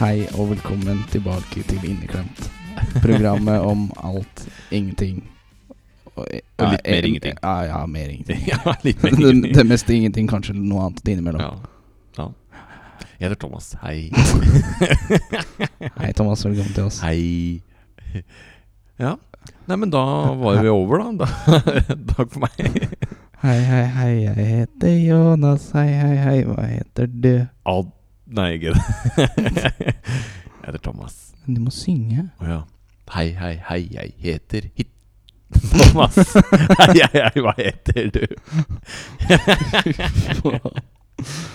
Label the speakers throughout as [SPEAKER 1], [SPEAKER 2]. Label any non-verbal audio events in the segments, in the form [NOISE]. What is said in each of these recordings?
[SPEAKER 1] Hei og velkommen tilbake til Inneklemt. Programmet om alt, ingenting. Og,
[SPEAKER 2] Og
[SPEAKER 1] ja,
[SPEAKER 2] litt mer
[SPEAKER 1] eh,
[SPEAKER 2] ingenting.
[SPEAKER 1] Ja, ja, mer ingenting.
[SPEAKER 2] ja, litt [LAUGHS] mer
[SPEAKER 1] det,
[SPEAKER 2] ingenting.
[SPEAKER 1] det meste ingenting, kanskje noe annet innimellom.
[SPEAKER 2] Ja. ja. Jeg heter Thomas. [LAUGHS] Hei.
[SPEAKER 1] Hei, Thomas. Velkommen til oss.
[SPEAKER 2] Hei. Ja. Nei, men da var vi over, da. da [LAUGHS] Dag for meg.
[SPEAKER 1] Hei, hei, hei. Jeg heter Jonas. Hei, hei, hei. Hva heter du?
[SPEAKER 2] Ad... Nei, ikke det. [LAUGHS] Jeg heter Thomas.
[SPEAKER 1] Du må synge.
[SPEAKER 2] Å ja. Hei, hei, hei, jeg heter Hit... [LAUGHS] Thomas. Hei, hei, hei, hva heter [LAUGHS] du?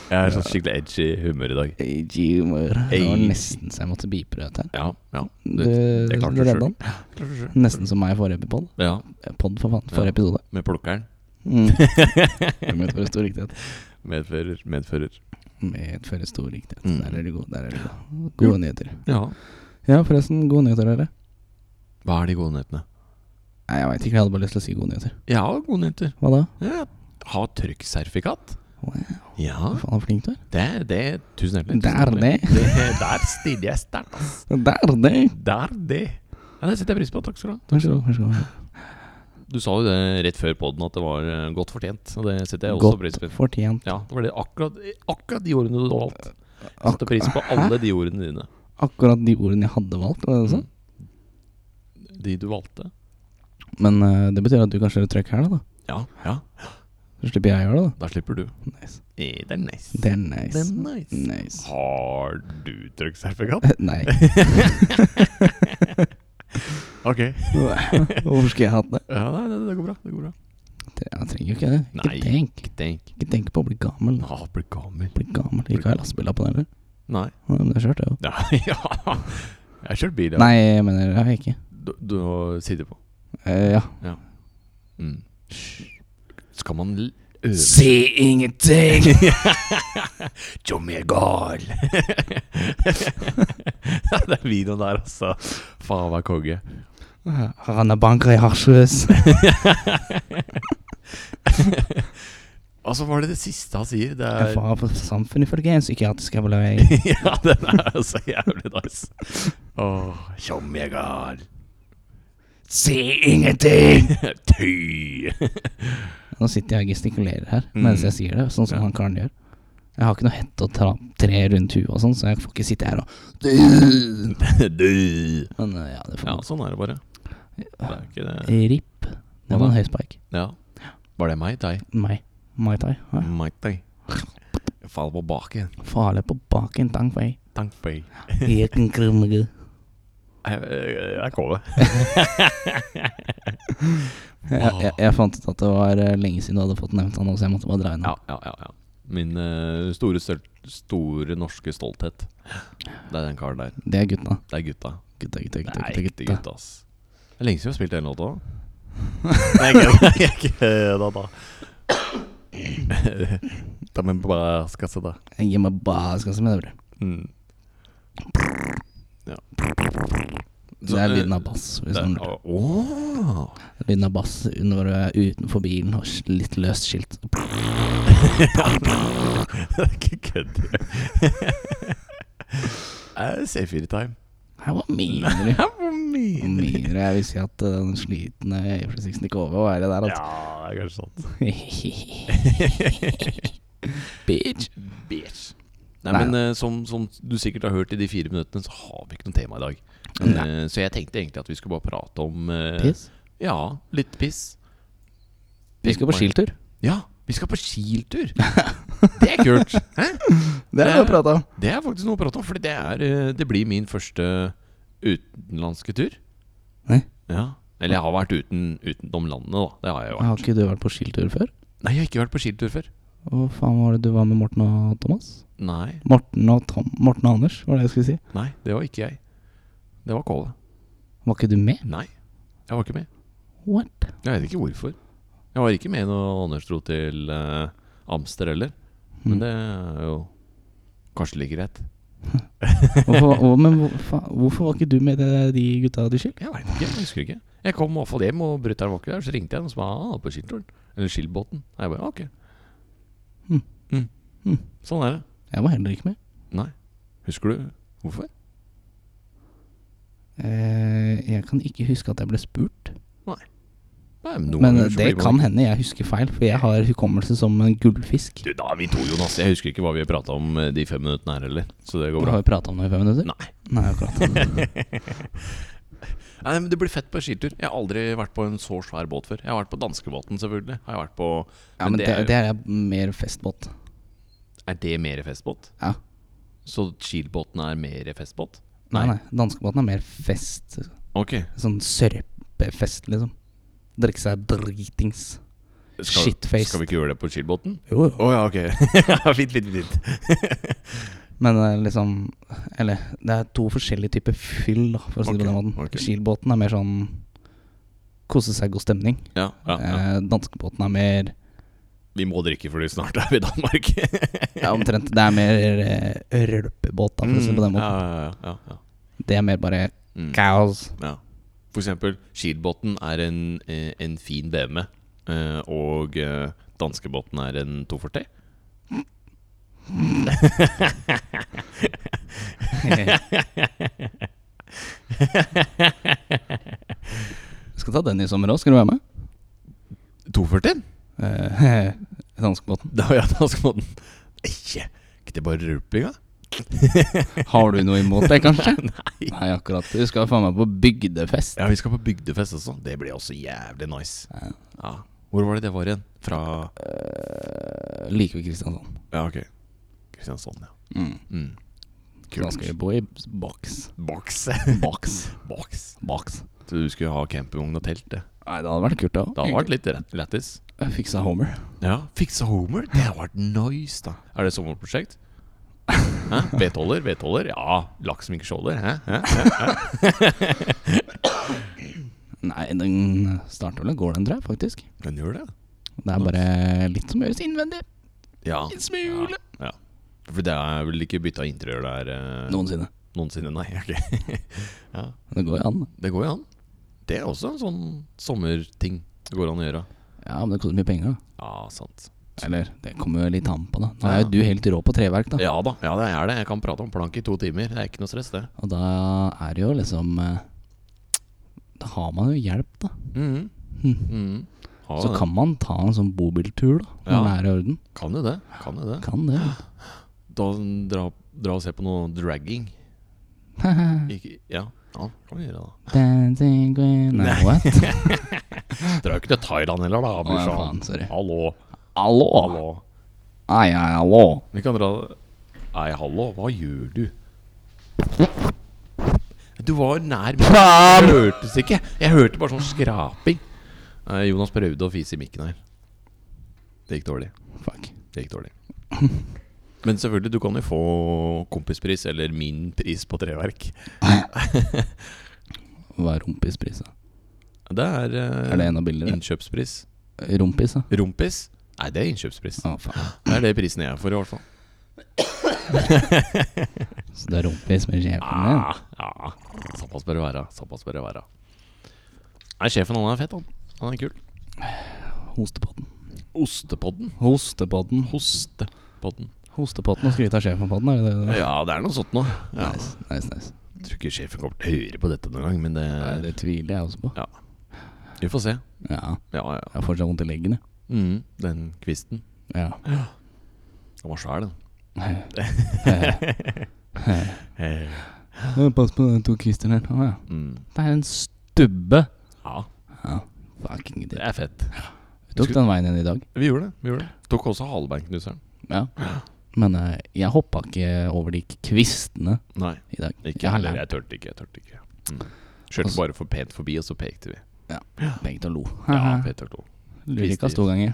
[SPEAKER 2] Jeg er sånn skikkelig edgy humør i dag.
[SPEAKER 1] [LAUGHS] Hey, Humor. Det var
[SPEAKER 2] Hey.
[SPEAKER 1] nesten så jeg måtte beepe det ut her.
[SPEAKER 2] Ja, ja.
[SPEAKER 1] Du,
[SPEAKER 2] Det, det klarte
[SPEAKER 1] du
[SPEAKER 2] du
[SPEAKER 1] redda
[SPEAKER 2] sjøl.
[SPEAKER 1] den. Nesten som meg i forrige pod.
[SPEAKER 2] Ja,
[SPEAKER 1] Pod, for faen.
[SPEAKER 2] Ja.
[SPEAKER 1] Forrige episode.
[SPEAKER 2] med plukkeren.
[SPEAKER 1] Mm. Det Medfører stor riktighet.
[SPEAKER 2] Medfører, medfører.
[SPEAKER 1] Medfører stor riktighet.
[SPEAKER 2] Mm.
[SPEAKER 1] Der er du god. Der er du god. Gode nyheter.
[SPEAKER 2] Ja.
[SPEAKER 1] Ja, forresten. Gode nyheter, dere.
[SPEAKER 2] Hva er de gode nyhetene?
[SPEAKER 1] Nei, jeg veit ikke. Jeg hadde bare lyst til å si gode nyheter.
[SPEAKER 2] Jeg har gode nyheter.
[SPEAKER 1] Hva da?
[SPEAKER 2] Ja. Ha trykksertifikat.
[SPEAKER 1] Wow,
[SPEAKER 2] Ja,
[SPEAKER 1] faen, så flink du er.
[SPEAKER 2] det er det. Tusen hjertelig.
[SPEAKER 1] Det er
[SPEAKER 2] tusen hjertelig. det. Der stiller jeg sterkt, ass.
[SPEAKER 1] [LAUGHS] Der, det!
[SPEAKER 2] Det er det. Ja, det setter jeg pris på. Takk skal du ha.
[SPEAKER 1] Vær så god. vær så god.
[SPEAKER 2] Du sa jo det rett før podden at det var eh, godt fortjent. Og det setter jeg også pris på.
[SPEAKER 1] Godt fortjent.
[SPEAKER 2] Ja, det var det akkurat, akkurat de ordene du valgte. Jeg
[SPEAKER 1] Ak
[SPEAKER 2] Setter pris på alle de ordene dine.
[SPEAKER 1] akkurat de ordene jeg hadde valgt. Var det sånn?
[SPEAKER 2] Mm. De du valgte.
[SPEAKER 1] Men eh, det betyr at du kan kjøre trøkk her, da.
[SPEAKER 2] Ja, ja.
[SPEAKER 1] Så slipper jeg å gjøre det,
[SPEAKER 2] Da slipper du.
[SPEAKER 1] da. Nice.
[SPEAKER 2] Eh, Det er nice.
[SPEAKER 1] Det er nice.
[SPEAKER 2] Det er nice.
[SPEAKER 1] nice.
[SPEAKER 2] Har du trykksertifikat?
[SPEAKER 1] [LAUGHS] Nei.
[SPEAKER 2] [LAUGHS] Ok.
[SPEAKER 1] Hvorfor skulle jeg hatt det?
[SPEAKER 2] Ja, nei, det, det går bra. Det går bra.
[SPEAKER 1] Det- Jeg trenger jo ikke det. Ikke
[SPEAKER 2] Nei.
[SPEAKER 1] tenk.
[SPEAKER 2] Ikke tenk.
[SPEAKER 1] Ikke tenk på å bli gammel.
[SPEAKER 2] Nå blir gammel.
[SPEAKER 1] Bli gammel. Ikke ha lastebillappen heller.
[SPEAKER 2] Nei.
[SPEAKER 1] Nei, Men det kjørte jeg jo.
[SPEAKER 2] [LAUGHS] Ja, ja. Jeg har kjørt bil, ja.
[SPEAKER 1] Nei, jeg mener jeg har ikke.
[SPEAKER 2] Du, du sitter på.
[SPEAKER 1] Eh, ja.
[SPEAKER 2] Mm. Skal man l- øve
[SPEAKER 1] Si ingenting!
[SPEAKER 2] [LAUGHS] Tjommi er gal! [LAUGHS] Den videoen der, altså. Faen meg konge.
[SPEAKER 1] Han er banker i hasjrus.
[SPEAKER 2] [LAUGHS] Altså, hva er det det siste han sier? Det
[SPEAKER 1] Jeg
[SPEAKER 2] [LAUGHS] er
[SPEAKER 1] får ha for samfunnet ifølge en psykiatrisk evaluering.
[SPEAKER 2] [LAUGHS] Ja, den er så jævlig nice. Åh, Tjommi er gal. [LAUGHS]
[SPEAKER 1] Si ingenting!
[SPEAKER 2] Ty!
[SPEAKER 1] Nå sitter jeg og gestikulerer her
[SPEAKER 2] Mm.
[SPEAKER 1] mens jeg sier det, sånn som
[SPEAKER 2] Ja.
[SPEAKER 1] han karen gjør. Jeg har ikke noe hette å tra tre rundt huet og sånn, så jeg får ikke sitte her og
[SPEAKER 2] [LAUGHS] Du!
[SPEAKER 1] Men eh, ja, det får gå.
[SPEAKER 2] Ja, sånn er det bare. Det er ikke det
[SPEAKER 1] RIP. Det var en høyspike.
[SPEAKER 2] Ja. Var det meg? Deg?
[SPEAKER 1] Meg. Mai Tai. Ja.
[SPEAKER 2] Mike deg. Jeg faller på baken.
[SPEAKER 1] Farlig på baken, tang
[SPEAKER 2] [LAUGHS]
[SPEAKER 1] fei.
[SPEAKER 2] Takk for meg. [LAUGHS]
[SPEAKER 1] Eken krummege.
[SPEAKER 2] Jeg, jeg, jeg
[SPEAKER 1] [LAUGHS]
[SPEAKER 2] kommer.
[SPEAKER 1] Jeg, jeg, jeg fant ut at det var eh, lenge siden du hadde fått nevnt han, så jeg måtte bare dra innom.
[SPEAKER 2] Ja, ja, ja, ja. Min eh, store, støl- store norske stolthet. Det er den karen der.
[SPEAKER 1] Det er gutta.
[SPEAKER 2] Det er gutta.
[SPEAKER 1] Gutta, gutta, gutta.
[SPEAKER 2] Det er
[SPEAKER 1] gutta,
[SPEAKER 2] ekte
[SPEAKER 1] gutta.
[SPEAKER 2] gutta, ass. Det er lenge siden vi har spilt
[SPEAKER 1] [LAUGHS]
[SPEAKER 2] den låta. Nei, jeg kødda, da. Da men bare skal se da.
[SPEAKER 1] Jeg gir meg baskasse med det, bror.
[SPEAKER 2] Mm. Ja.
[SPEAKER 1] eh, Det er sånn- lyden av bass. Hvis noen lurer.
[SPEAKER 2] Åh!
[SPEAKER 1] Lyden av bass når du er utenfor bilen og sl- litt løst skilt.
[SPEAKER 2] Det er ikke kødd. [LAUGHS] Eh, C4 time.
[SPEAKER 1] Her var [LAUGHS] mener du?
[SPEAKER 2] Ja, hvor
[SPEAKER 1] Hva
[SPEAKER 2] mye?
[SPEAKER 1] Mener du? Jeg vil si at eh, den slitne E46-en ikke over å være der, altså.
[SPEAKER 2] Ja, det er kanskje sant.
[SPEAKER 1] [LAUGHS] Bitch.
[SPEAKER 2] Bitch. Nei,
[SPEAKER 1] Nei,
[SPEAKER 2] men eh, som, som du sikkert har hørt i de fire minuttene, så har vi ikke noe tema i dag. Men, eh, så jeg tenkte egentlig at vi skulle bare prate om eh,
[SPEAKER 1] Piss.
[SPEAKER 2] Ja, litt piss.
[SPEAKER 1] Vi skal på skiltur.
[SPEAKER 2] Ja, vi skal på skiltur! [LAUGHS] det er kult! Hæ?
[SPEAKER 1] Det har vi prata om.
[SPEAKER 2] Det er faktisk noe å prate om, for det, er, eh, det blir min første utenlandske tur.
[SPEAKER 1] Nei.
[SPEAKER 2] Ja. Eller jeg har vært uten, utenom landet, da. Det har jeg jo vært.
[SPEAKER 1] Har ikke du vært på skiltur før?
[SPEAKER 2] Nei, jeg har ikke vært på skiltur før.
[SPEAKER 1] Hva faen var det du var med Morten og Thomas?
[SPEAKER 2] Nei,
[SPEAKER 1] Morten og, Tom, Morten og Anders, var det jeg skulle si.
[SPEAKER 2] nei, det var ikke jeg. Det var Kåle.
[SPEAKER 1] Var ikke du med?
[SPEAKER 2] Nei, jeg var ikke med.
[SPEAKER 1] What?
[SPEAKER 2] Jeg vet ikke hvorfor. Jeg
[SPEAKER 1] Mm.
[SPEAKER 2] Mm. var ikke med når Anders dro til eh, Amster heller. Men det er jo Kanskje like greit.
[SPEAKER 1] Hvorfor, å, men hvor, faen, hvorfor var ikke du med det, de gutta du skil?
[SPEAKER 2] Jeg vet ikke, jeg husker ikke. Jeg kom i hvert fall hjem, og brutter'n var ikke der. Så ringte jeg han og sa ah, han er på skilturen. Eller skilbåten. Og jeg bare ok.
[SPEAKER 1] Mm.
[SPEAKER 2] Mm.
[SPEAKER 1] Mm.
[SPEAKER 2] Sånn er det.
[SPEAKER 1] Jeg var heller ikke med.
[SPEAKER 2] Nei. Husker du hvorfor?
[SPEAKER 1] Eh, jeg kan ikke huske at jeg ble spurt.
[SPEAKER 2] Nei,
[SPEAKER 1] Men eh,
[SPEAKER 2] noen ganger så
[SPEAKER 1] det
[SPEAKER 2] blir man
[SPEAKER 1] kan
[SPEAKER 2] ikke-
[SPEAKER 1] hende jeg husker feil, for jeg har hukommelse som en gullfisk.
[SPEAKER 2] Du, da er vi to, Jonas. Jeg husker ikke hva vi har prata om eh, de fem minuttene her heller. Så det går
[SPEAKER 1] Du
[SPEAKER 2] bra.
[SPEAKER 1] har jo prata om det i fem minutter.
[SPEAKER 2] Nei.
[SPEAKER 1] Nei, [LAUGHS] akkurat.
[SPEAKER 2] Nei, men Det blir fett på skitur. Jeg har aldri vært på en så svær båt før. Jeg har vært på danskebåten, selvfølgelig. Har jeg vært på
[SPEAKER 1] Ja, men det,
[SPEAKER 2] er,
[SPEAKER 1] det er mer festbåt.
[SPEAKER 2] er det mer festbåt?
[SPEAKER 1] Ja.
[SPEAKER 2] Så skilbåten er mer festbåt?
[SPEAKER 1] Nei, nei. Danskebåten er mer fest.
[SPEAKER 2] Ok.
[SPEAKER 1] Sånn sørpefest, liksom. Drikke seg dritings.
[SPEAKER 2] Skal,
[SPEAKER 1] Shitfaced.
[SPEAKER 2] Skal vi ikke gjøre det på skilbåten?
[SPEAKER 1] Jo,
[SPEAKER 2] Å [LAUGHS] ja, ok. fint, fint, fint.
[SPEAKER 1] Men det er liksom Eller det er to forskjellige typer fyll, da, for å si det på den
[SPEAKER 2] Ok,
[SPEAKER 1] måten.
[SPEAKER 2] ok.
[SPEAKER 1] Skilbåten er mer sånn kose seg, god stemning.
[SPEAKER 2] Ja, ja, ja.
[SPEAKER 1] Eh, danskebåten er mer
[SPEAKER 2] Vi må drikke fordi snart er vi i Danmark. [LAUGHS]
[SPEAKER 1] Ja, omtrent. Det er mer eh, rølpebåt, da, for å si det på den
[SPEAKER 2] Mm,
[SPEAKER 1] måten.
[SPEAKER 2] Ja, ja, ja, ja.
[SPEAKER 1] Det er mer bare
[SPEAKER 2] Mm. [LAUGHS]
[SPEAKER 1] kaos.
[SPEAKER 2] Ja. For eksempel, Skilbotn er en, eh, en fin BMW, eh, og eh, danskebåten er en
[SPEAKER 1] [LAUGHS]
[SPEAKER 2] 240.
[SPEAKER 1] Vi skal ta den i sommer òg. Skal du være med?
[SPEAKER 2] 240?
[SPEAKER 1] Eh, [LAUGHS] danskebåten.
[SPEAKER 2] Da har jeg danskebåten. Ikke Ikke det bare rulpinga?
[SPEAKER 1] Har du noe imot det, kanskje?
[SPEAKER 2] [LAUGHS] Nei.
[SPEAKER 1] Nei, akkurat. Du skal faen meg på bygdefest. Eh,
[SPEAKER 2] Ja, vi skal på bygdefest også. Det blir også jævlig nice.
[SPEAKER 1] Ja.
[SPEAKER 2] Ja. Hvor var det det var igjen? Fra
[SPEAKER 1] Eh, like ved Kristiansand.
[SPEAKER 2] Ja, ok. Kristiansand, ja.
[SPEAKER 1] Mm.
[SPEAKER 2] Mm.
[SPEAKER 1] Så Da skal vi bo i
[SPEAKER 2] [LAUGHS]
[SPEAKER 1] boks. [LAUGHS]
[SPEAKER 2] Boks.
[SPEAKER 1] Boks.
[SPEAKER 2] Boks.
[SPEAKER 1] Boks.
[SPEAKER 2] Så du skulle ha campingvogn og telt, det.
[SPEAKER 1] Nei, det hadde vært kult, da.
[SPEAKER 2] Det hadde vært litt rett- lættis.
[SPEAKER 1] Jeg fiksa Homer.
[SPEAKER 2] Ja, fiksa Homer. Det hadde vært nice, da. Er det sommerprosjekt? Hæ? Betholder? Betholder? Ja. Laks som ikke skjolder? Hæ? Hæ? Hæ? [LAUGHS]
[SPEAKER 1] Nei, den starter vel og går, den, tror jeg, faktisk.
[SPEAKER 2] Den gjør det.
[SPEAKER 1] Det er bare litt som gjøres innvendig.
[SPEAKER 2] Ja.
[SPEAKER 1] En smule.
[SPEAKER 2] ja. For det er vel ikke bytta interiør der eh,
[SPEAKER 1] Noensinne.
[SPEAKER 2] noensinne? Nei. ok. ja.
[SPEAKER 1] Men Det går jo an. da.
[SPEAKER 2] Det går jo an. Det er også en sånn sommerting det går an å gjøre.
[SPEAKER 1] Ja, men det koster mye penger, da.
[SPEAKER 2] Ja, sant.
[SPEAKER 1] Eller det kommer jo litt an på, da. Nå er
[SPEAKER 2] Ja.
[SPEAKER 1] jo du helt rå på treverk, da.
[SPEAKER 2] Ja da, ja, det er det. Jeg kan prate om plank i to timer. Det er ikke noe stress, det.
[SPEAKER 1] Og da er det jo liksom eh, Da har man jo hjelp, da.
[SPEAKER 2] Mhm.
[SPEAKER 1] Hm.
[SPEAKER 2] Mhm. Ja,
[SPEAKER 1] Så
[SPEAKER 2] det.
[SPEAKER 1] kan man ta en sånn bobiltur, da. Når
[SPEAKER 2] Ja.
[SPEAKER 1] det er i orden.
[SPEAKER 2] kan jo det. Kan jo det.
[SPEAKER 1] Kan det.
[SPEAKER 2] Da dra, dra og se på noe dragging.
[SPEAKER 1] [LAUGHS]
[SPEAKER 2] Ikke, ja. ja, kan vi gjøre det.
[SPEAKER 1] Dancing queen Nei, what?
[SPEAKER 2] da Drar jo ikke til Thailand heller, da.
[SPEAKER 1] Å, ja, [LAUGHS]
[SPEAKER 2] Brorsan.
[SPEAKER 1] faen, sorry.
[SPEAKER 2] Hallo,
[SPEAKER 1] Hallo!
[SPEAKER 2] hallo.
[SPEAKER 1] Ai, ai, hallo.
[SPEAKER 2] Vi kan dra Nei, hallo, hva gjør du? Du var nær meg.
[SPEAKER 1] Faen!
[SPEAKER 2] Det hørtes ikke. Jeg hørte bare sånn skraping. Nei, Jonas prøvde å fise i mikken her. Det gikk dårlig.
[SPEAKER 1] Fuck.
[SPEAKER 2] Det gikk dårlig. Men selvfølgelig, du kan jo få kompispris, eller min pris på treverk.
[SPEAKER 1] Hva er rumpispris, da?
[SPEAKER 2] Det er, eh,
[SPEAKER 1] Er det en av bildene?
[SPEAKER 2] innkjøpspris.
[SPEAKER 1] Rumpis, da?
[SPEAKER 2] Rumpis? Nei, det er innkjøpspris.
[SPEAKER 1] Å, faen.
[SPEAKER 2] Det er det prisen jeg får, i hvert fall.
[SPEAKER 1] Så det er rumpis med kjeven din?
[SPEAKER 2] Ah, ja. Såpass bør det være. Såpass bør det være. Nei, sjefen han er fett, han. Han er kul.
[SPEAKER 1] Hostepodden.
[SPEAKER 2] Ostepodden.
[SPEAKER 1] Hostepodden.
[SPEAKER 2] Hostepodden.
[SPEAKER 1] Hostepodden og skryte av sjefen på den, er det det? det?
[SPEAKER 2] Ja, det er noe sånt nå. Ja.
[SPEAKER 1] Nice, nice, nice.
[SPEAKER 2] Jeg tror ikke sjefen kommer til å høre på dette noen gang, men
[SPEAKER 1] Nei,
[SPEAKER 2] det
[SPEAKER 1] det tviler jeg også på.
[SPEAKER 2] Ja. Vi får se.
[SPEAKER 1] Ja,
[SPEAKER 2] Ja, ja.
[SPEAKER 1] jeg har fortsatt vondt i leggen, jeg.
[SPEAKER 2] Mm, den kvisten. [LAUGHS]
[SPEAKER 1] Ja.
[SPEAKER 2] Den var svær, den.
[SPEAKER 1] [LAUGHS]
[SPEAKER 2] [LAUGHS]
[SPEAKER 1] Ja, Pass på de to kvistene her. Å ja.
[SPEAKER 2] Eh, Mm.
[SPEAKER 1] Det er en stubbe.
[SPEAKER 2] Ja,
[SPEAKER 1] Ja, fucking
[SPEAKER 2] det
[SPEAKER 1] dritt.
[SPEAKER 2] er fett.
[SPEAKER 1] Vi tok den veien igjen i dag.
[SPEAKER 2] Vi gjorde det. vi gjorde det Tok også halebeinknuseren.
[SPEAKER 1] Ja. Men eh, jeg hoppa ikke over de kvistene
[SPEAKER 2] Nei,
[SPEAKER 1] i dag.
[SPEAKER 2] ikke
[SPEAKER 1] jeg har
[SPEAKER 2] heller.
[SPEAKER 1] lært
[SPEAKER 2] Jeg turte ikke. jeg tørte ikke mm. Kjørte
[SPEAKER 1] Altså-
[SPEAKER 2] bare for pent forbi, og så pekte vi.
[SPEAKER 1] begge og lo. [LAUGHS]
[SPEAKER 2] Ja, Peter Klo.
[SPEAKER 1] Lurer ikke av to ganger.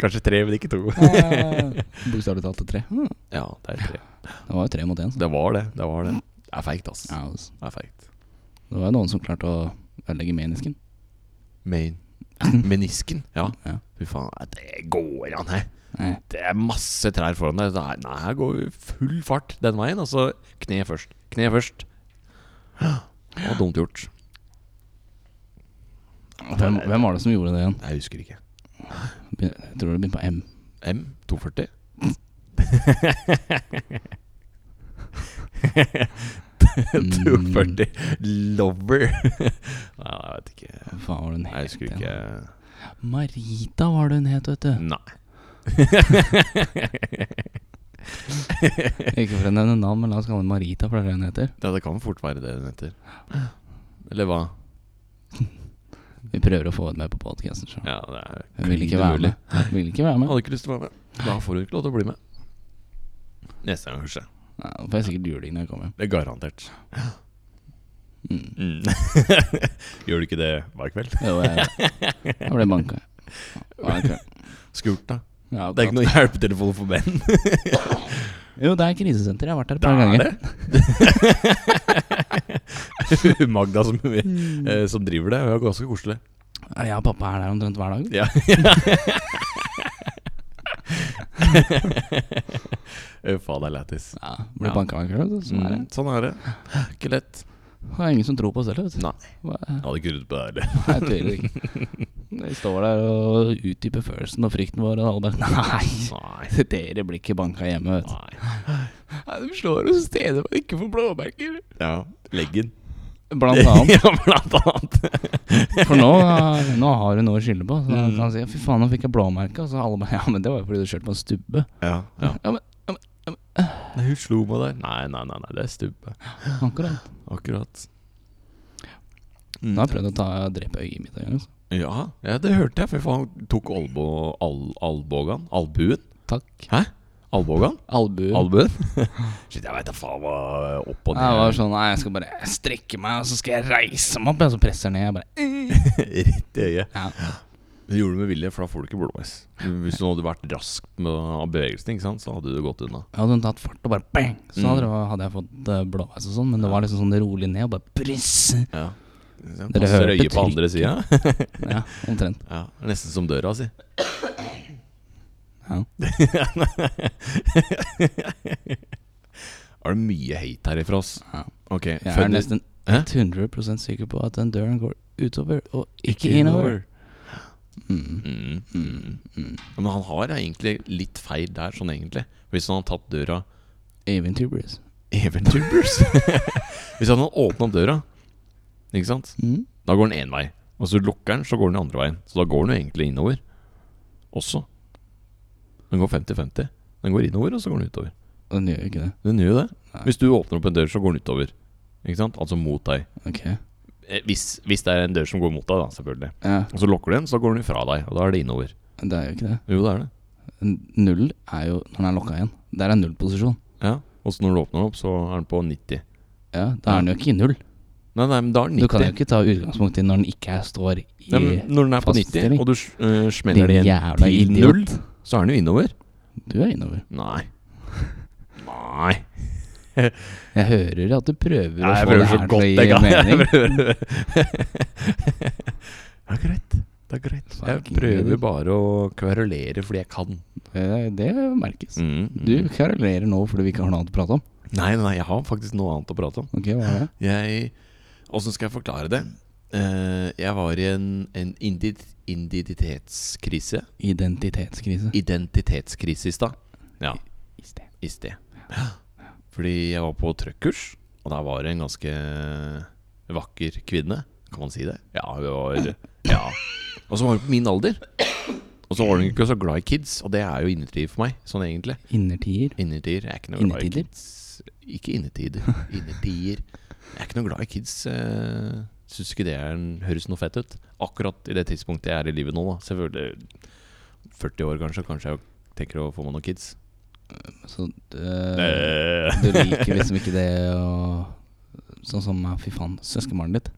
[SPEAKER 2] Kanskje tre, men ikke to. Eh.
[SPEAKER 1] [LAUGHS] Bokstavelig talt til tre. Mm.
[SPEAKER 2] Ja, det er tre.
[SPEAKER 1] Det var jo tre mot én. så.
[SPEAKER 2] Det var det. Det var det. Det er feigt, ass.
[SPEAKER 1] Ja, altså.
[SPEAKER 2] Det er feigt.
[SPEAKER 1] Det var jo noen som klarte å ødelegge menisken.
[SPEAKER 2] [LAUGHS] Main. Menisken. Ja.
[SPEAKER 1] Ja.
[SPEAKER 2] Fy faen. nei, Det går an, he.
[SPEAKER 1] Nei.
[SPEAKER 2] Det er masse trær foran deg. Nei, nei, her går vi full fart den veien. Altså kne først. Kne først. Det var dumt gjort.
[SPEAKER 1] Hvem, hvem var det som gjorde det igjen?
[SPEAKER 2] Jeg husker ikke.
[SPEAKER 1] Begyn- Jeg tror det begynte på M. [LAUGHS]
[SPEAKER 2] M240?
[SPEAKER 1] Mm.
[SPEAKER 2] 240 Lover. [LAUGHS] Nei, jeg vet ikke.
[SPEAKER 1] Hva faen var det hun het?
[SPEAKER 2] Jeg husker
[SPEAKER 1] igjen?
[SPEAKER 2] ikke.
[SPEAKER 1] Marita var det hun het, vet du. [LAUGHS]
[SPEAKER 2] Nei.
[SPEAKER 1] Ikke for å nevne navn, men la oss kalle henne Marita, for det er det hun heter.
[SPEAKER 2] Ja, det kan fort være det den heter. Eller hva?
[SPEAKER 1] Vi prøver å få henne med på podcasten så.
[SPEAKER 2] Ja, det er
[SPEAKER 1] Hun vil ikke
[SPEAKER 2] klin
[SPEAKER 1] være
[SPEAKER 2] umulig.
[SPEAKER 1] med. Hun Vil ikke være med.
[SPEAKER 2] Hadde ikke lyst til å være med. Da får hun ikke lov til å bli med. Neste gang, kanskje.
[SPEAKER 1] Nei, Da får jeg sikkert juling når jeg kommer hjem.
[SPEAKER 2] Det er garantert.
[SPEAKER 1] Mm.
[SPEAKER 2] [LAUGHS] Gjør du ikke det hver kveld?
[SPEAKER 1] Jo, jeg, jeg ble banka. Ja, ok.
[SPEAKER 2] Skurt, da.
[SPEAKER 1] Ja,
[SPEAKER 2] Det er ikke noe hjelpetelefon for [LAUGHS] menn.
[SPEAKER 1] Jo, det er krisesenter. Jeg har vært der et
[SPEAKER 2] Det
[SPEAKER 1] par
[SPEAKER 2] er
[SPEAKER 1] ganger.
[SPEAKER 2] det. [LAUGHS] Magda som, eh, som driver det, hun er ganske koselig.
[SPEAKER 1] Mm.
[SPEAKER 2] Eh.
[SPEAKER 1] Ja, pappa er der omtrent hver
[SPEAKER 2] [LAUGHS]
[SPEAKER 1] dag.
[SPEAKER 2] Ja. Faen, det er lættis.
[SPEAKER 1] Ja, Ble
[SPEAKER 2] Ja.
[SPEAKER 1] banka hver kveld, så sånn er det.
[SPEAKER 2] Mm, Sånn er det. Ikke lett.
[SPEAKER 1] Det er ingen som tror på oss heller, vet du.
[SPEAKER 2] Nei.
[SPEAKER 1] Hva-
[SPEAKER 2] Jeg hadde ikke rudd på det heller.
[SPEAKER 1] Nei, tydeligvis ikke. Vi står der og utdyper følelsen og frykten vår, og alle bare Nei!
[SPEAKER 2] Nei.
[SPEAKER 1] Dere blir ikke banka hjemme, vet du.
[SPEAKER 2] Nei.
[SPEAKER 1] Nei, De slår oss steder man ikke får blåmerker.
[SPEAKER 2] Ja. Leggen.
[SPEAKER 1] Blant annet.
[SPEAKER 2] [LAUGHS] ja, [LAUGHS] blant annet.
[SPEAKER 1] For nå, eh, nå har hun noe å skylde på. Så da
[SPEAKER 2] Mm.
[SPEAKER 1] kan han si 'fy faen, nå fikk jeg blåmerke'. Og så alle bare 'ja, men det var jo fordi du kjørte på en stubbe'.
[SPEAKER 2] Ja. ja.
[SPEAKER 1] Ja, men
[SPEAKER 2] Nei, hun slo meg der. Nei, nei, nei, nei, det er stubbe.
[SPEAKER 1] akkurat.
[SPEAKER 2] Akkurat.
[SPEAKER 1] Da har jeg prøvd å ta, drepe øyet mitt. en gang, altså.
[SPEAKER 2] Ja, ja, det hørte jeg. For faen, hun tok albo, al, albogan Albuen?
[SPEAKER 1] Takk.
[SPEAKER 2] Hæ? Albogan?
[SPEAKER 1] Albuen. [LAUGHS]
[SPEAKER 2] Albuen? Shit, jeg veit da faen hva opp og
[SPEAKER 1] Nei, det var
[SPEAKER 2] ned
[SPEAKER 1] sånn Nei, jeg skal bare strekke meg, og så skal jeg reise meg opp. Og så presser jeg ned. Jeg bare
[SPEAKER 2] [LAUGHS] Rett i øyet.
[SPEAKER 1] sånn. ja.
[SPEAKER 2] Det gjorde du med vilje, for da får du ikke blåveis. Hvis du hadde vært rask med av bevegelsen, ikke sant, så hadde du gått unna.
[SPEAKER 1] Hadde hun tatt fart og bare bang, så
[SPEAKER 2] Mm.
[SPEAKER 1] hadde, det, hadde jeg fått eh, blåveis og sånn. Men det var liksom sånn rolig ned og bare bryss.
[SPEAKER 2] [LAUGHS] Ja. Så
[SPEAKER 1] Dere
[SPEAKER 2] Passer
[SPEAKER 1] hørte
[SPEAKER 2] øyet på andre sida.
[SPEAKER 1] Ja, omtrent.
[SPEAKER 2] Ja, nesten som døra si.
[SPEAKER 1] Ja.
[SPEAKER 2] [LAUGHS] Er det mye hate her ifra oss?
[SPEAKER 1] Ja.
[SPEAKER 2] Ok,
[SPEAKER 1] Jeg er
[SPEAKER 2] Fender-
[SPEAKER 1] nesten
[SPEAKER 2] Hæ?
[SPEAKER 1] 100 sikker på at den døren går utover og ikke, innover.
[SPEAKER 2] Innover.
[SPEAKER 1] Mm.
[SPEAKER 2] Mm, mm, mm. Ja, Men han har egentlig litt feil der, sånn egentlig. Hvis han hadde tatt døra
[SPEAKER 1] Eventyrbrys.
[SPEAKER 2] Eventyrers [LAUGHS] Hvis han hadde åpna døra, ikke sant,
[SPEAKER 1] Mm.
[SPEAKER 2] da går den én vei. Og så lukker den, så går den andre veien. Så da går den jo egentlig innover også. Den går 50-50. Den går innover, og så går den utover.
[SPEAKER 1] Den gjør jo ikke det.
[SPEAKER 2] Den gjør jo det.
[SPEAKER 1] Nei.
[SPEAKER 2] Hvis du åpner opp en dør, så går den utover. Ikke sant? Altså mot deg.
[SPEAKER 1] Ok.
[SPEAKER 2] Eh, Hvis, hvis det er en dør som går mot deg, da, selvfølgelig.
[SPEAKER 1] Ja,
[SPEAKER 2] Og så lukker du den, så går den ifra deg. Og da er det innover.
[SPEAKER 1] men det er jo ikke det.
[SPEAKER 2] Jo, det er det.
[SPEAKER 1] N- Null er jo når den er lokka igjen. Der er nullposisjon.
[SPEAKER 2] Ja, og så når du åpner den opp, så er den på 90.
[SPEAKER 1] Ja, da er den jo ikke i null.
[SPEAKER 2] Nei, nei, men da er den
[SPEAKER 1] Du kan jo
[SPEAKER 2] 90.
[SPEAKER 1] ikke ta utgangspunkt i når den ikke er- står i
[SPEAKER 2] Nei, men når den er på
[SPEAKER 1] fast
[SPEAKER 2] 90,
[SPEAKER 1] stilling.
[SPEAKER 2] og du s- øh,
[SPEAKER 1] Din
[SPEAKER 2] smeller det
[SPEAKER 1] jævla
[SPEAKER 2] igjen til
[SPEAKER 1] idiot.
[SPEAKER 2] null, så er den jo innover.
[SPEAKER 1] Du er innover.
[SPEAKER 2] Nei. Nei.
[SPEAKER 1] Jeg hører at du prøver å
[SPEAKER 2] Nei,
[SPEAKER 1] få
[SPEAKER 2] jeg
[SPEAKER 1] det
[SPEAKER 2] prøver så
[SPEAKER 1] her til å
[SPEAKER 2] godt
[SPEAKER 1] gi
[SPEAKER 2] jeg kan. [LAUGHS] Jeg
[SPEAKER 1] mening.
[SPEAKER 2] prøver. Det er greit. Det er greit. Jeg
[SPEAKER 1] Fucking
[SPEAKER 2] prøver
[SPEAKER 1] idiot.
[SPEAKER 2] bare å kverulere fordi jeg kan.
[SPEAKER 1] Eh, Det merkes.
[SPEAKER 2] Mm.
[SPEAKER 1] Du karolerer nå fordi vi ikke har noe annet å prate om.
[SPEAKER 2] Nei, nei, jeg har faktisk noe annet å prate om.
[SPEAKER 1] Ok, hva er det?
[SPEAKER 2] Jeg Åssen skal jeg forklare det? Eh, jeg var i en, en indi- identitetskrise.
[SPEAKER 1] Identitetskrise.
[SPEAKER 2] identitetskrise i stad. Ja,
[SPEAKER 1] I sted.
[SPEAKER 2] i sted. Fordi jeg var på trøkkurs, og der var det en ganske vakker kvinne. Kan man si det? Ja, hun var Ja. Og så var hun på min alder. Og så var hun ikke så glad i kids, og det er jo innetid for meg, sånn egentlig.
[SPEAKER 1] Innertier.
[SPEAKER 2] Innetider. Jeg er ikke noe glad i
[SPEAKER 1] Innetider?
[SPEAKER 2] kids. Ikke innetider. Innetider. Jeg er ikke noe glad i kids. Syns ikke det er en, høres noe fett ut. Akkurat i det tidspunktet jeg er i livet nå, da. Selvfølgelig 40 år, kanskje. Kanskje jeg tenker å få meg noen kids.
[SPEAKER 1] Så eh,
[SPEAKER 2] Eh,
[SPEAKER 1] du [LAUGHS] liker liksom ikke det å Sånn som eh, fy faen, søskenbarnet ditt.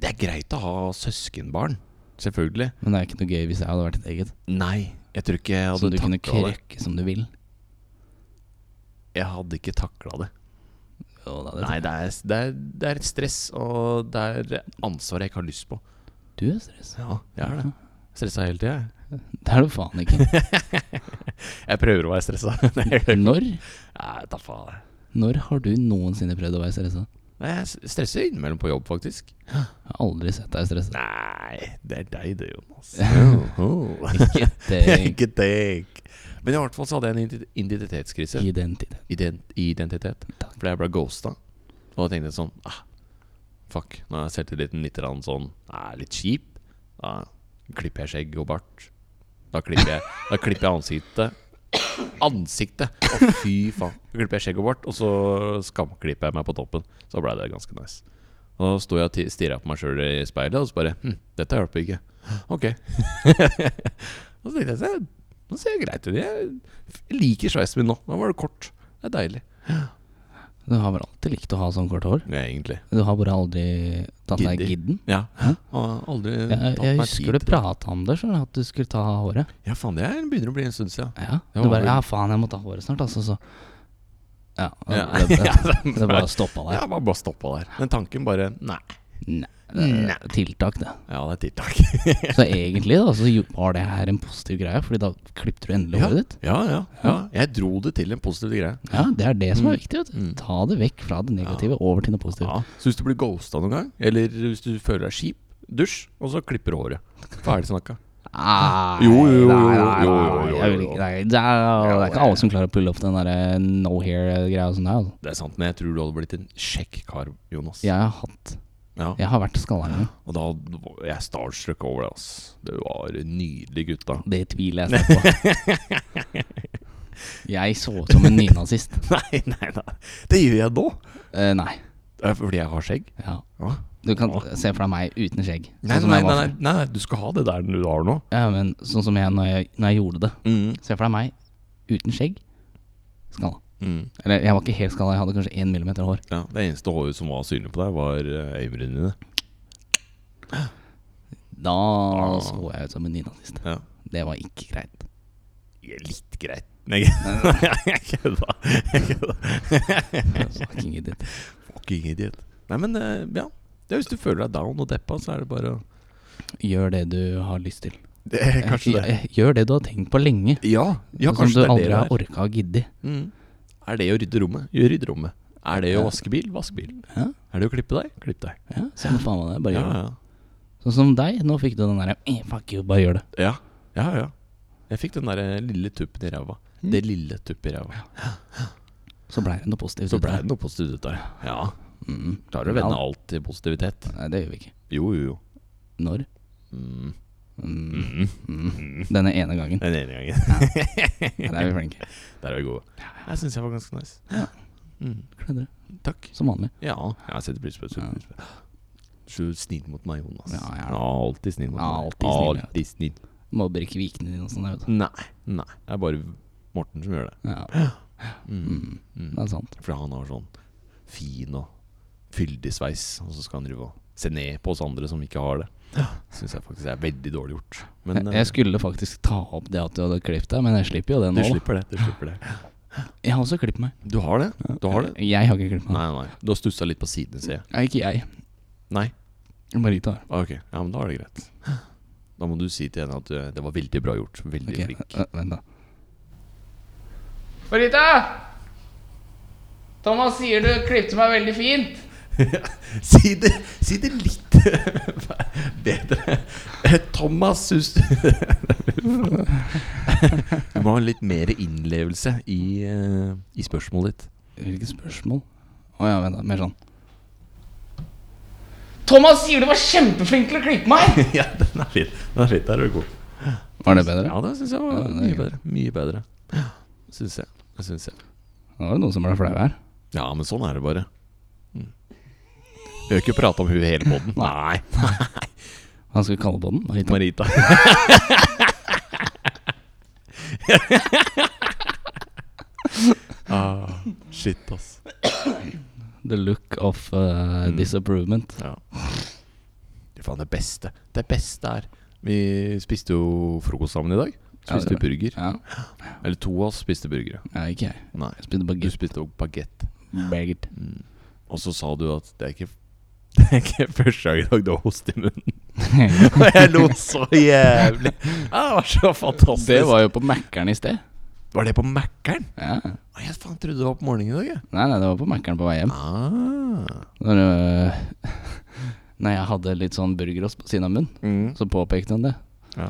[SPEAKER 2] Det er greit å ha søskenbarn. Selvfølgelig.
[SPEAKER 1] Men det er ikke noe gøy hvis jeg hadde vært et eget.
[SPEAKER 2] Nei, jeg tror ikke jeg
[SPEAKER 1] Som
[SPEAKER 2] hadde
[SPEAKER 1] du kunne
[SPEAKER 2] takla det.
[SPEAKER 1] krøkke som du vil.
[SPEAKER 2] Jeg hadde ikke takla det.
[SPEAKER 1] Jo, da, det
[SPEAKER 2] Nei, det er, det, er, det er et stress, og det er ansvar jeg ikke har lyst på.
[SPEAKER 1] Du er stress.
[SPEAKER 2] Ja, jeg er det. Stressa hele tida, jeg.
[SPEAKER 1] Det er du faen
[SPEAKER 2] [LAUGHS]
[SPEAKER 1] ikke.
[SPEAKER 2] Jeg prøver å være stressa. Nei, jeg gjør [LAUGHS] det.
[SPEAKER 1] Når?
[SPEAKER 2] Nei, ta faen. jeg.
[SPEAKER 1] Når har du noensinne prøvd å være stressa?
[SPEAKER 2] Nei, jeg s- stresser innimellom på jobb, faktisk.
[SPEAKER 1] Jeg har aldri sett deg stressa.
[SPEAKER 2] Nei, det er deg det, Jonas.
[SPEAKER 1] [LAUGHS]
[SPEAKER 2] [LAUGHS]
[SPEAKER 1] Ikke tenk
[SPEAKER 2] Ikke tenk. Men i hvert fall så hadde jeg en ident- identitetskrise.
[SPEAKER 1] identitet.
[SPEAKER 2] ident identitet.
[SPEAKER 1] Takk.
[SPEAKER 2] Fordi jeg ble ghosta. Og da tenkte jeg sånn ah, Fuck, nå er selvtilliten litt rann sånn ah, litt kjip. Da klipper jeg skjegg og bart. Da klipper jeg, da klipper jeg ansiktet. Ansiktet! Å, fy faen. Da klipper jeg skjegg og bart, og så skamklipper jeg meg på toppen. Så blei det ganske nice. Og da sto jeg og stirra på meg sjøl i speilet, og så bare hm, Dette hjelper ikke. Ok. [LAUGHS] og så tenkte jeg sånn Nå ser jeg greit ut. Jeg liker sveisen min nå. Nå var det kort. Det er deilig.
[SPEAKER 1] Du har vel alltid likt å ha sånn kort hår?
[SPEAKER 2] Ja, egentlig.
[SPEAKER 1] Du har bare aldri tatt deg
[SPEAKER 2] Gidder.
[SPEAKER 1] gidden?
[SPEAKER 2] Ja.
[SPEAKER 1] Hæ?
[SPEAKER 2] Og aldri
[SPEAKER 1] Jeg,
[SPEAKER 2] tatt
[SPEAKER 1] jeg
[SPEAKER 2] meg tid
[SPEAKER 1] husker du
[SPEAKER 2] til det.
[SPEAKER 1] prata om det, skjønner du, at du skulle ta håret.
[SPEAKER 2] Ja, faen, det er- begynner å bli en stund siden.
[SPEAKER 1] Ja,
[SPEAKER 2] Det
[SPEAKER 1] du
[SPEAKER 2] var
[SPEAKER 1] bare
[SPEAKER 2] vel-
[SPEAKER 1] Ja, faen, jeg må ta håret snart, altså, så Ja.
[SPEAKER 2] [LAUGHS] Ja.
[SPEAKER 1] Det, det,
[SPEAKER 2] Ja,
[SPEAKER 1] det,
[SPEAKER 2] det-
[SPEAKER 1] bare stoppa der.
[SPEAKER 2] Ja, man bare stoppa der. Den tanken bare Nei.
[SPEAKER 1] Nei. det er Tiltak, det.
[SPEAKER 2] Ja, det er tiltak.
[SPEAKER 1] Så egentlig da, så jo- var det her en positiv greie, Fordi da klippte du endelig håret ditt.
[SPEAKER 2] [LAUGHS] Ja, ja, ja. Jeg dro det til en positiv greie.
[SPEAKER 1] Ja, Det er det som er
[SPEAKER 2] Mm.
[SPEAKER 1] viktig. Vet du.
[SPEAKER 2] Mm.
[SPEAKER 1] Ta det vekk fra det negative over til noe positivt.
[SPEAKER 2] Ja. Så hvis du blir ghosta noen gang, eller hvis du føler deg kjip, dusj, og så klipper du håret. Ferdig snakka.
[SPEAKER 1] Nei,
[SPEAKER 2] Jo, jo, jo,
[SPEAKER 1] nei, nei, nei,
[SPEAKER 2] jo, jo, jo, jo,
[SPEAKER 1] jeg vil
[SPEAKER 2] jo.
[SPEAKER 1] ikke- nei, Det er det er ikke alle som klarer å pulle opp den der eh, no hair-greia som det er. Altså.
[SPEAKER 2] Det er sant, men jeg tror du hadde blitt en kjekk kar, Jonas.
[SPEAKER 1] Jeg har hatt
[SPEAKER 2] Ja.
[SPEAKER 1] Jeg har vært skalleren.
[SPEAKER 2] Og da var jeg starstruck over det, ass. Det var nydelig, gutta.
[SPEAKER 1] Det tviler jeg sterkt på. Jeg så ut som en nynazist.
[SPEAKER 2] [LAUGHS] Nei, nei, nei. Det gjør jeg nå.
[SPEAKER 1] Eh, nei.
[SPEAKER 2] Det er Fordi jeg har skjegg.
[SPEAKER 1] Ja.
[SPEAKER 2] Ja.
[SPEAKER 1] Du kan se for deg meg uten skjegg.
[SPEAKER 2] Nei,
[SPEAKER 1] sånn som
[SPEAKER 2] nei,
[SPEAKER 1] jeg
[SPEAKER 2] nei,
[SPEAKER 1] var
[SPEAKER 2] nei,
[SPEAKER 1] før.
[SPEAKER 2] nei, du skal ha det der du har nå.
[SPEAKER 1] Ja, men sånn som jeg når, jeg når jeg gjorde det.
[SPEAKER 2] Mm,
[SPEAKER 1] Se for deg meg uten skjegg. Skalla. Eller jeg var ikke helt skalla, jeg hadde kanskje én millimeter hår.
[SPEAKER 2] mm, Ja, det eneste håret som var synlig på deg, var eh, øyenbrynene dine.
[SPEAKER 1] Da så jeg ut som en nynazist.
[SPEAKER 2] Ja.
[SPEAKER 1] Det var ikke greit.
[SPEAKER 2] Ja, Litt greit. Nei, [LAUGHS] jeg kødda. Jeg [LAUGHS] kødda.
[SPEAKER 1] Fucking idiot.
[SPEAKER 2] Fucking idiot. Nei, men eh, ja. Det er hvis du føler deg down og deppa, så er det bare å
[SPEAKER 1] Gjør det du har lyst til.
[SPEAKER 2] det er Kanskje det.
[SPEAKER 1] Eh, Gjør det du har tenkt på lenge.
[SPEAKER 2] Ja, ja
[SPEAKER 1] Sånn som
[SPEAKER 2] kanskje
[SPEAKER 1] du
[SPEAKER 2] det er det
[SPEAKER 1] aldri
[SPEAKER 2] det
[SPEAKER 1] har
[SPEAKER 2] er.
[SPEAKER 1] orka å gidde.
[SPEAKER 2] Mm. Er det å rydde rommet? Gjør rydde rommet. Er det å
[SPEAKER 1] Ja.
[SPEAKER 2] vaske bil? Vask bil.
[SPEAKER 1] Ja.
[SPEAKER 2] Er det å klippe deg? Klipp deg.
[SPEAKER 1] Ja, Samme faen med det, bare
[SPEAKER 2] Ja,
[SPEAKER 1] gjør det.
[SPEAKER 2] ja.
[SPEAKER 1] Sånn som deg, nå fikk du den derre eh, Fuck you, bare gjør det.
[SPEAKER 2] Ja, ja, ja. Jeg fikk den der eh, lille tuppen i ræva.
[SPEAKER 1] Mm.
[SPEAKER 2] Det lille tuppet i ræva.
[SPEAKER 1] Så blei det noe positivt.
[SPEAKER 2] Så
[SPEAKER 1] ut
[SPEAKER 2] ble
[SPEAKER 1] av
[SPEAKER 2] det noe positivt ut der. Ja.
[SPEAKER 1] Mm.
[SPEAKER 2] Klarer å
[SPEAKER 1] Ja.
[SPEAKER 2] vende alt til positivitet.
[SPEAKER 1] Nei, det gjør vi ikke.
[SPEAKER 2] Jo, jo, jo.
[SPEAKER 1] Når?
[SPEAKER 2] Mm.
[SPEAKER 1] Mm.
[SPEAKER 2] Mm.
[SPEAKER 1] Mm. Denne ene
[SPEAKER 2] [LAUGHS]
[SPEAKER 1] gangen.
[SPEAKER 2] Den ene gangen.
[SPEAKER 1] Der er vi flinke.
[SPEAKER 2] Der er vi gode. Jeg syns jeg var ganske nice.
[SPEAKER 1] Ja.
[SPEAKER 2] Mm.
[SPEAKER 1] Kledder,
[SPEAKER 2] Takk.
[SPEAKER 1] som vanlig.
[SPEAKER 2] Ja, jeg setter pris på det.
[SPEAKER 1] Ja.
[SPEAKER 2] setter pris på det. Så snill mot meg, Jonas.
[SPEAKER 1] Ja, jeg er det.
[SPEAKER 2] Alltid snill mot
[SPEAKER 1] Ja,
[SPEAKER 2] meg.
[SPEAKER 1] alltid snill, ja.
[SPEAKER 2] Alltid snill.
[SPEAKER 1] Mobber ikke vikene dine og sånn. jeg vet.
[SPEAKER 2] Nei. Nei. Det er bare Morten som gjør det.
[SPEAKER 1] Ja,
[SPEAKER 2] Mm.
[SPEAKER 1] mm. Det
[SPEAKER 2] Mm.
[SPEAKER 1] er sant.
[SPEAKER 2] For han har sånn fin og fyldig sveis, og så skal han drive og se ned på oss andre som ikke har det. Syns jeg faktisk er veldig dårlig gjort. Men
[SPEAKER 1] jeg,
[SPEAKER 2] eh,
[SPEAKER 1] jeg skulle faktisk ta opp det at du hadde klippet deg, men jeg slipper jo det
[SPEAKER 2] du
[SPEAKER 1] nå. da.
[SPEAKER 2] slipper det. Du slipper det.
[SPEAKER 1] Jeg har også klippet meg.
[SPEAKER 2] [LAUGHS] Du har det? Du har det?
[SPEAKER 1] Jeg har ikke klippet meg.
[SPEAKER 2] Nei, nei. Du har stussa litt på sidene, sier jeg.
[SPEAKER 1] Nei, ikke jeg.
[SPEAKER 2] Nei? Ah,
[SPEAKER 1] Marita. har.
[SPEAKER 2] Ok, ja, men da er det greit. Da må du si til henne at eh, det var veldig bra gjort.
[SPEAKER 1] Ok,
[SPEAKER 2] Veldig flink.
[SPEAKER 1] eh, Vent, da.
[SPEAKER 3] Marita! Thomas sier du klippte meg veldig fint.
[SPEAKER 2] Si det, si det litt [LAUGHS] bedre. Eh, Thomas syns [LAUGHS] Du må ha litt mer innlevelse i, eh, i spørsmålet ditt.
[SPEAKER 1] Hvilket spørsmål? Å ja, vent, da. Mer sånn.
[SPEAKER 3] Thomas sier du var kjempeflink til å klippe meg.
[SPEAKER 2] [LAUGHS] Ja, den er fin. Den er fin, Der er du god.
[SPEAKER 1] Var det bedre?
[SPEAKER 2] Ja, det syns jeg
[SPEAKER 1] Ja,
[SPEAKER 2] var
[SPEAKER 1] det er
[SPEAKER 2] mye
[SPEAKER 1] greit.
[SPEAKER 2] bedre. Mye bedre. Syns jeg. Det Syns jeg.
[SPEAKER 1] Nå var det noen som ble flau her.
[SPEAKER 2] Ja, men sånn er det bare. Mm. Vi har ikke prata om hun hele poden. Nei.
[SPEAKER 1] Hva skal vi kalle på den? Marita.
[SPEAKER 2] [LAUGHS] Marita. ah, shit, ass.
[SPEAKER 1] The look of eh, disapprovement.
[SPEAKER 2] Ja. Det er faen det beste. Det beste er Vi spiste jo frokost sammen i dag.
[SPEAKER 1] Ja, det
[SPEAKER 2] Spiste
[SPEAKER 1] gjorde
[SPEAKER 2] burger.
[SPEAKER 1] Ja.
[SPEAKER 2] Eller to av oss spiste burgere.
[SPEAKER 1] ja, ikke jeg.
[SPEAKER 2] Nei,
[SPEAKER 1] Jeg spydde
[SPEAKER 2] du [LAUGHS]
[SPEAKER 1] baguett.
[SPEAKER 2] spiste jo bagett.
[SPEAKER 1] Baguett.
[SPEAKER 2] [LAUGHS] Og så sa du at det er ikke Det er ikke første gang i dag du har host i munnen. [LAUGHS] Og jeg lo så jævlig. Ja, det var så fantastisk.
[SPEAKER 1] Det var jo på Mækkern i sted.
[SPEAKER 2] Var det på Mækkern?
[SPEAKER 1] Ja.
[SPEAKER 2] Å, Jeg faen trodde det var på morgenen i dag, jeg.
[SPEAKER 1] Nei, nei, det var på Mækkern på vei hjem.
[SPEAKER 2] Ah.
[SPEAKER 1] Når, øh, [LAUGHS] når jeg hadde litt sånn burgerost på siden av munnen,
[SPEAKER 2] Mm.
[SPEAKER 1] så påpekte hun det.
[SPEAKER 2] Ja.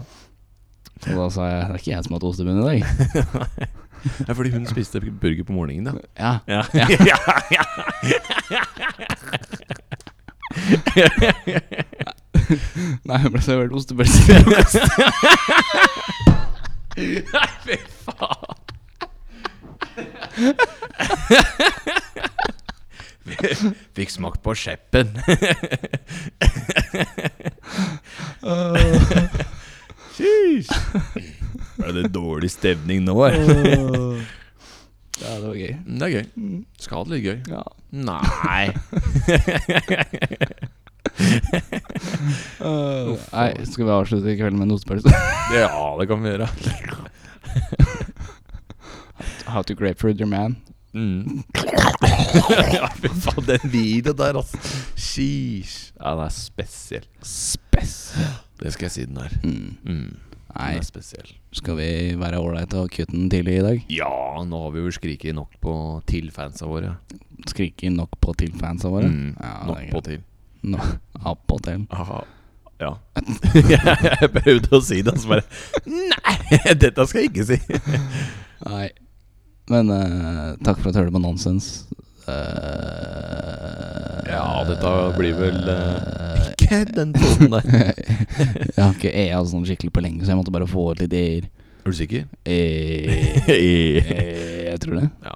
[SPEAKER 1] Og da sa jeg det er ikke jeg som har hatt ost i munnen i
[SPEAKER 2] [LAUGHS]
[SPEAKER 1] dag.
[SPEAKER 2] [LAUGHS] Ja, fordi hun spiste burger på morgenen, da.
[SPEAKER 1] Ja,
[SPEAKER 2] [LAUGHS] Ja. [LAUGHS]
[SPEAKER 1] Nei, jeg ble servert
[SPEAKER 2] [LAUGHS]
[SPEAKER 1] ostepølse.
[SPEAKER 2] [LAUGHS] Fikk smakt på skjeppen. [LAUGHS] Jeez. [LAUGHS] Er det dårlig stemning nå, eller?
[SPEAKER 1] ja, det var gøy.
[SPEAKER 2] Det er
[SPEAKER 1] Mm.
[SPEAKER 2] gøy. Skal ha det litt gøy.
[SPEAKER 1] Ja.
[SPEAKER 2] Nei.
[SPEAKER 1] Nei, skal vi avslutte kvelden med en ostepølse?
[SPEAKER 2] [LAUGHS] [LAUGHS] Ja, det kan vi gjøre.
[SPEAKER 1] How to grapefruit your man.
[SPEAKER 2] Mm. [LAUGHS] ja, fy faen, den videoen der, altså. Sheesh. Ja, den er spesiell.
[SPEAKER 1] Spess.
[SPEAKER 2] Det skal jeg si den er.
[SPEAKER 1] Mm.
[SPEAKER 2] Mm.
[SPEAKER 1] Nei,
[SPEAKER 2] Den er spesiell.
[SPEAKER 1] skal vi være ålreite og kutte den tidlig i dag?
[SPEAKER 2] Ja, nå har vi vel skriket nok på til fansa våre.
[SPEAKER 1] Skrike nok på til fansa våre?
[SPEAKER 2] Mm.
[SPEAKER 1] Ja,
[SPEAKER 2] nok
[SPEAKER 1] det er
[SPEAKER 2] på
[SPEAKER 1] greit.
[SPEAKER 2] til.
[SPEAKER 1] No, Appåtil.
[SPEAKER 2] Aha. Ja. [LAUGHS] jeg prøvde å si det, og så bare Nei, dette skal jeg ikke si.
[SPEAKER 1] Nei. Men eh, takk for at du hørte på Nonsens. Eh,
[SPEAKER 2] Ja, dette blir vel eh, Ikke den tonen der.
[SPEAKER 1] [LAUGHS] Jeg har ikke EA sånn skikkelig på lenge, så jeg måtte bare få ut litt E-er.
[SPEAKER 2] Er du sikker?
[SPEAKER 1] Eh,
[SPEAKER 2] [LAUGHS] ja.
[SPEAKER 1] eh, jeg tror det.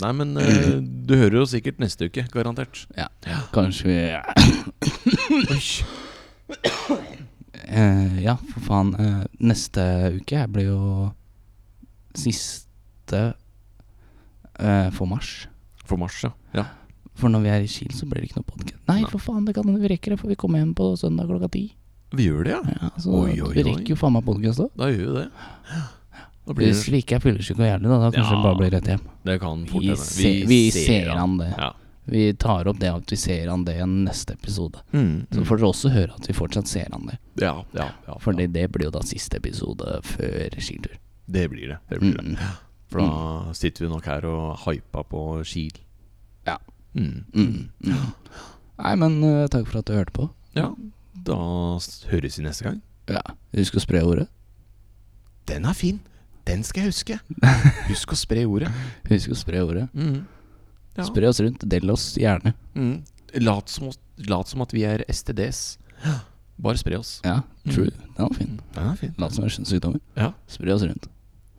[SPEAKER 2] Nei, men eh, du hører jo sikkert neste uke, garantert.
[SPEAKER 1] Ja. Kanskje vi
[SPEAKER 2] Oi.
[SPEAKER 1] Eh, Ja, for faen. eh, neste uke blir jo siste eh, for mars.
[SPEAKER 2] For mars, ja. ja.
[SPEAKER 1] For når vi er i Kiel, så blir det ikke noe podcast. Nei, for faen, det kan hende vi rekker det, for vi kommer hjem på søndag klokka ti.
[SPEAKER 2] Vi gjør det, ja.
[SPEAKER 1] Ja, så
[SPEAKER 2] Oi, oi,
[SPEAKER 1] vi
[SPEAKER 2] oi.
[SPEAKER 1] rekker jo faen meg podkast òg.
[SPEAKER 2] Da gjør vi det. Da blir
[SPEAKER 1] Hvis
[SPEAKER 2] det,
[SPEAKER 1] vi ikke er fyllesyke og jævlig, da, da kanskje
[SPEAKER 2] Ja.
[SPEAKER 1] det bare blir rett hjem.
[SPEAKER 2] det kan fort
[SPEAKER 1] Vi,
[SPEAKER 2] hende.
[SPEAKER 1] se, vi ser an det.
[SPEAKER 2] Ja.
[SPEAKER 1] Vi tar opp det at vi ser an det i neste episode.
[SPEAKER 2] Mm,
[SPEAKER 1] Så
[SPEAKER 2] mm.
[SPEAKER 1] får dere også høre at vi fortsatt ser an det.
[SPEAKER 2] ja, ja, ja,
[SPEAKER 1] For
[SPEAKER 2] ja.
[SPEAKER 1] det, det blir jo da siste episode før skitur.
[SPEAKER 2] Det blir det. det, blir det.
[SPEAKER 1] Mm.
[SPEAKER 2] For da sitter vi nok her og hypa på Kiel.
[SPEAKER 1] Ja.
[SPEAKER 2] Mm.
[SPEAKER 1] Mm. Mm. Nei, men eh, takk for at du hørte på.
[SPEAKER 2] Ja, da s- høres vi neste gang.
[SPEAKER 1] Ja. Husk å spre ordet.
[SPEAKER 2] Den er fin! Den skal jeg [LAUGHS] huske. Husk å spre ordet.
[SPEAKER 1] Husk å spre ordet.
[SPEAKER 2] Mm. Ja.
[SPEAKER 1] Spre oss rundt. Del oss gjerne.
[SPEAKER 2] Mm. Lat, som, oss- lat som at vi er STDs. Bare spre oss.
[SPEAKER 1] Ja, true. Den Mm. var fin.
[SPEAKER 2] Den er fin.
[SPEAKER 1] Lat som det er kjønnssykdommer.
[SPEAKER 2] Ja.
[SPEAKER 1] Spre oss rundt.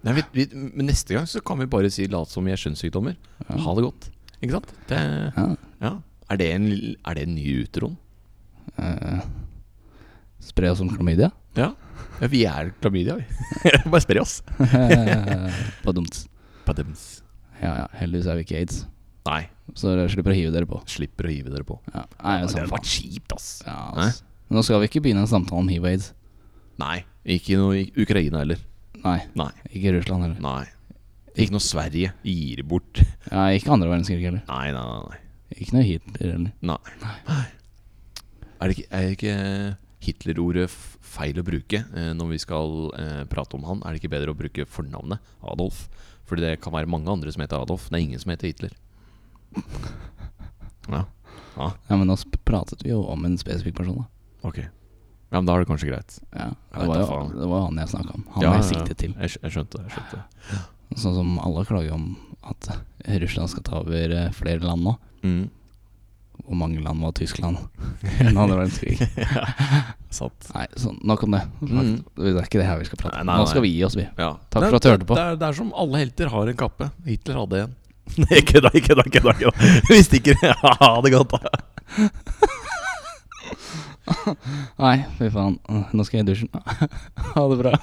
[SPEAKER 2] Nei, vi, vi, men neste gang så kan vi bare si late som vi er skjønnssykdommer. Ha det godt. Ikke sant? Det,
[SPEAKER 1] Ja.
[SPEAKER 2] ja. er, det en, l- er det en ny utroen?
[SPEAKER 1] Eh, spre oss som [LAUGHS] klamydia.
[SPEAKER 2] Ja. ja vi er klamydia, vi. [LAUGHS] bare spre oss.
[SPEAKER 1] På dumt.
[SPEAKER 2] Padems.
[SPEAKER 1] Ja, ja. Heldigvis er vi ikke aids.
[SPEAKER 2] Nei,
[SPEAKER 1] Så dere slipper å hive dere på.
[SPEAKER 2] slipper å hive dere på.
[SPEAKER 1] Ja. Nei, sånn det er
[SPEAKER 2] Det hadde
[SPEAKER 1] sant.
[SPEAKER 2] vært kjipt, ass.
[SPEAKER 1] Ja, altså. Men Nå skal vi ikke begynne en samtale om hiv og aids.
[SPEAKER 2] Nei. Ikke noe i Ukraina heller.
[SPEAKER 1] Nei.
[SPEAKER 2] Nei.
[SPEAKER 1] Ikke Russland heller.
[SPEAKER 2] Nei. Ikke noe Sverige. Gir bort.
[SPEAKER 1] Ja, ikke andre verdenskrig heller.
[SPEAKER 2] Nei, nei, nei.
[SPEAKER 1] Ikke noe Hitler heller.
[SPEAKER 2] Nei. nei. Er det ikke, er ikke eh, Hitler-ordet f- feil å bruke eh, når vi skal eh, prate om han? Er det ikke bedre å bruke fornavnet Adolf? Fordi det kan være mange andre som heter Adolf. Det er ingen som heter Hitler. [LAUGHS] Ja,
[SPEAKER 1] Ja, men nå sp- pratet vi jo om en spesifikk person, da.
[SPEAKER 2] ok. Ja, men da er det kanskje greit.
[SPEAKER 1] Ja,
[SPEAKER 2] vet
[SPEAKER 1] det var
[SPEAKER 2] da
[SPEAKER 1] jo
[SPEAKER 2] faen.
[SPEAKER 1] det var jo han jeg snakka om. Han
[SPEAKER 2] ja,
[SPEAKER 1] jeg
[SPEAKER 2] ja, ja.
[SPEAKER 1] siktet til.
[SPEAKER 2] Jeg, skj- jeg skjønte det. Jeg skjønte. det.
[SPEAKER 1] Sånn som alle klager om at Russland skal ta over eh, flere land nå.
[SPEAKER 2] [LAUGHS] Mm.
[SPEAKER 1] Hvor mange land var Tyskland [LAUGHS] under andre verdenskrig?
[SPEAKER 2] [LAUGHS] Satt.
[SPEAKER 1] Nei, sånn, nok om det.
[SPEAKER 2] Mm.
[SPEAKER 1] Det er ikke det her vi skal prate om.
[SPEAKER 2] Nei, nei,
[SPEAKER 1] Nå skal vi gi oss, vi.
[SPEAKER 2] Ja.
[SPEAKER 1] Takk
[SPEAKER 2] Det-
[SPEAKER 1] for at du hørte på.
[SPEAKER 2] Det er, det er som alle helter har en kappe. Hitler hadde en. [LAUGHS] Nei, kødda, kødda, kødda. kødda. Vi stikker. Ha det [LAUGHS] godt, da.
[SPEAKER 1] Nei, fy faen. Nå skal jeg i dusjen. [LAUGHS] Ha det bra.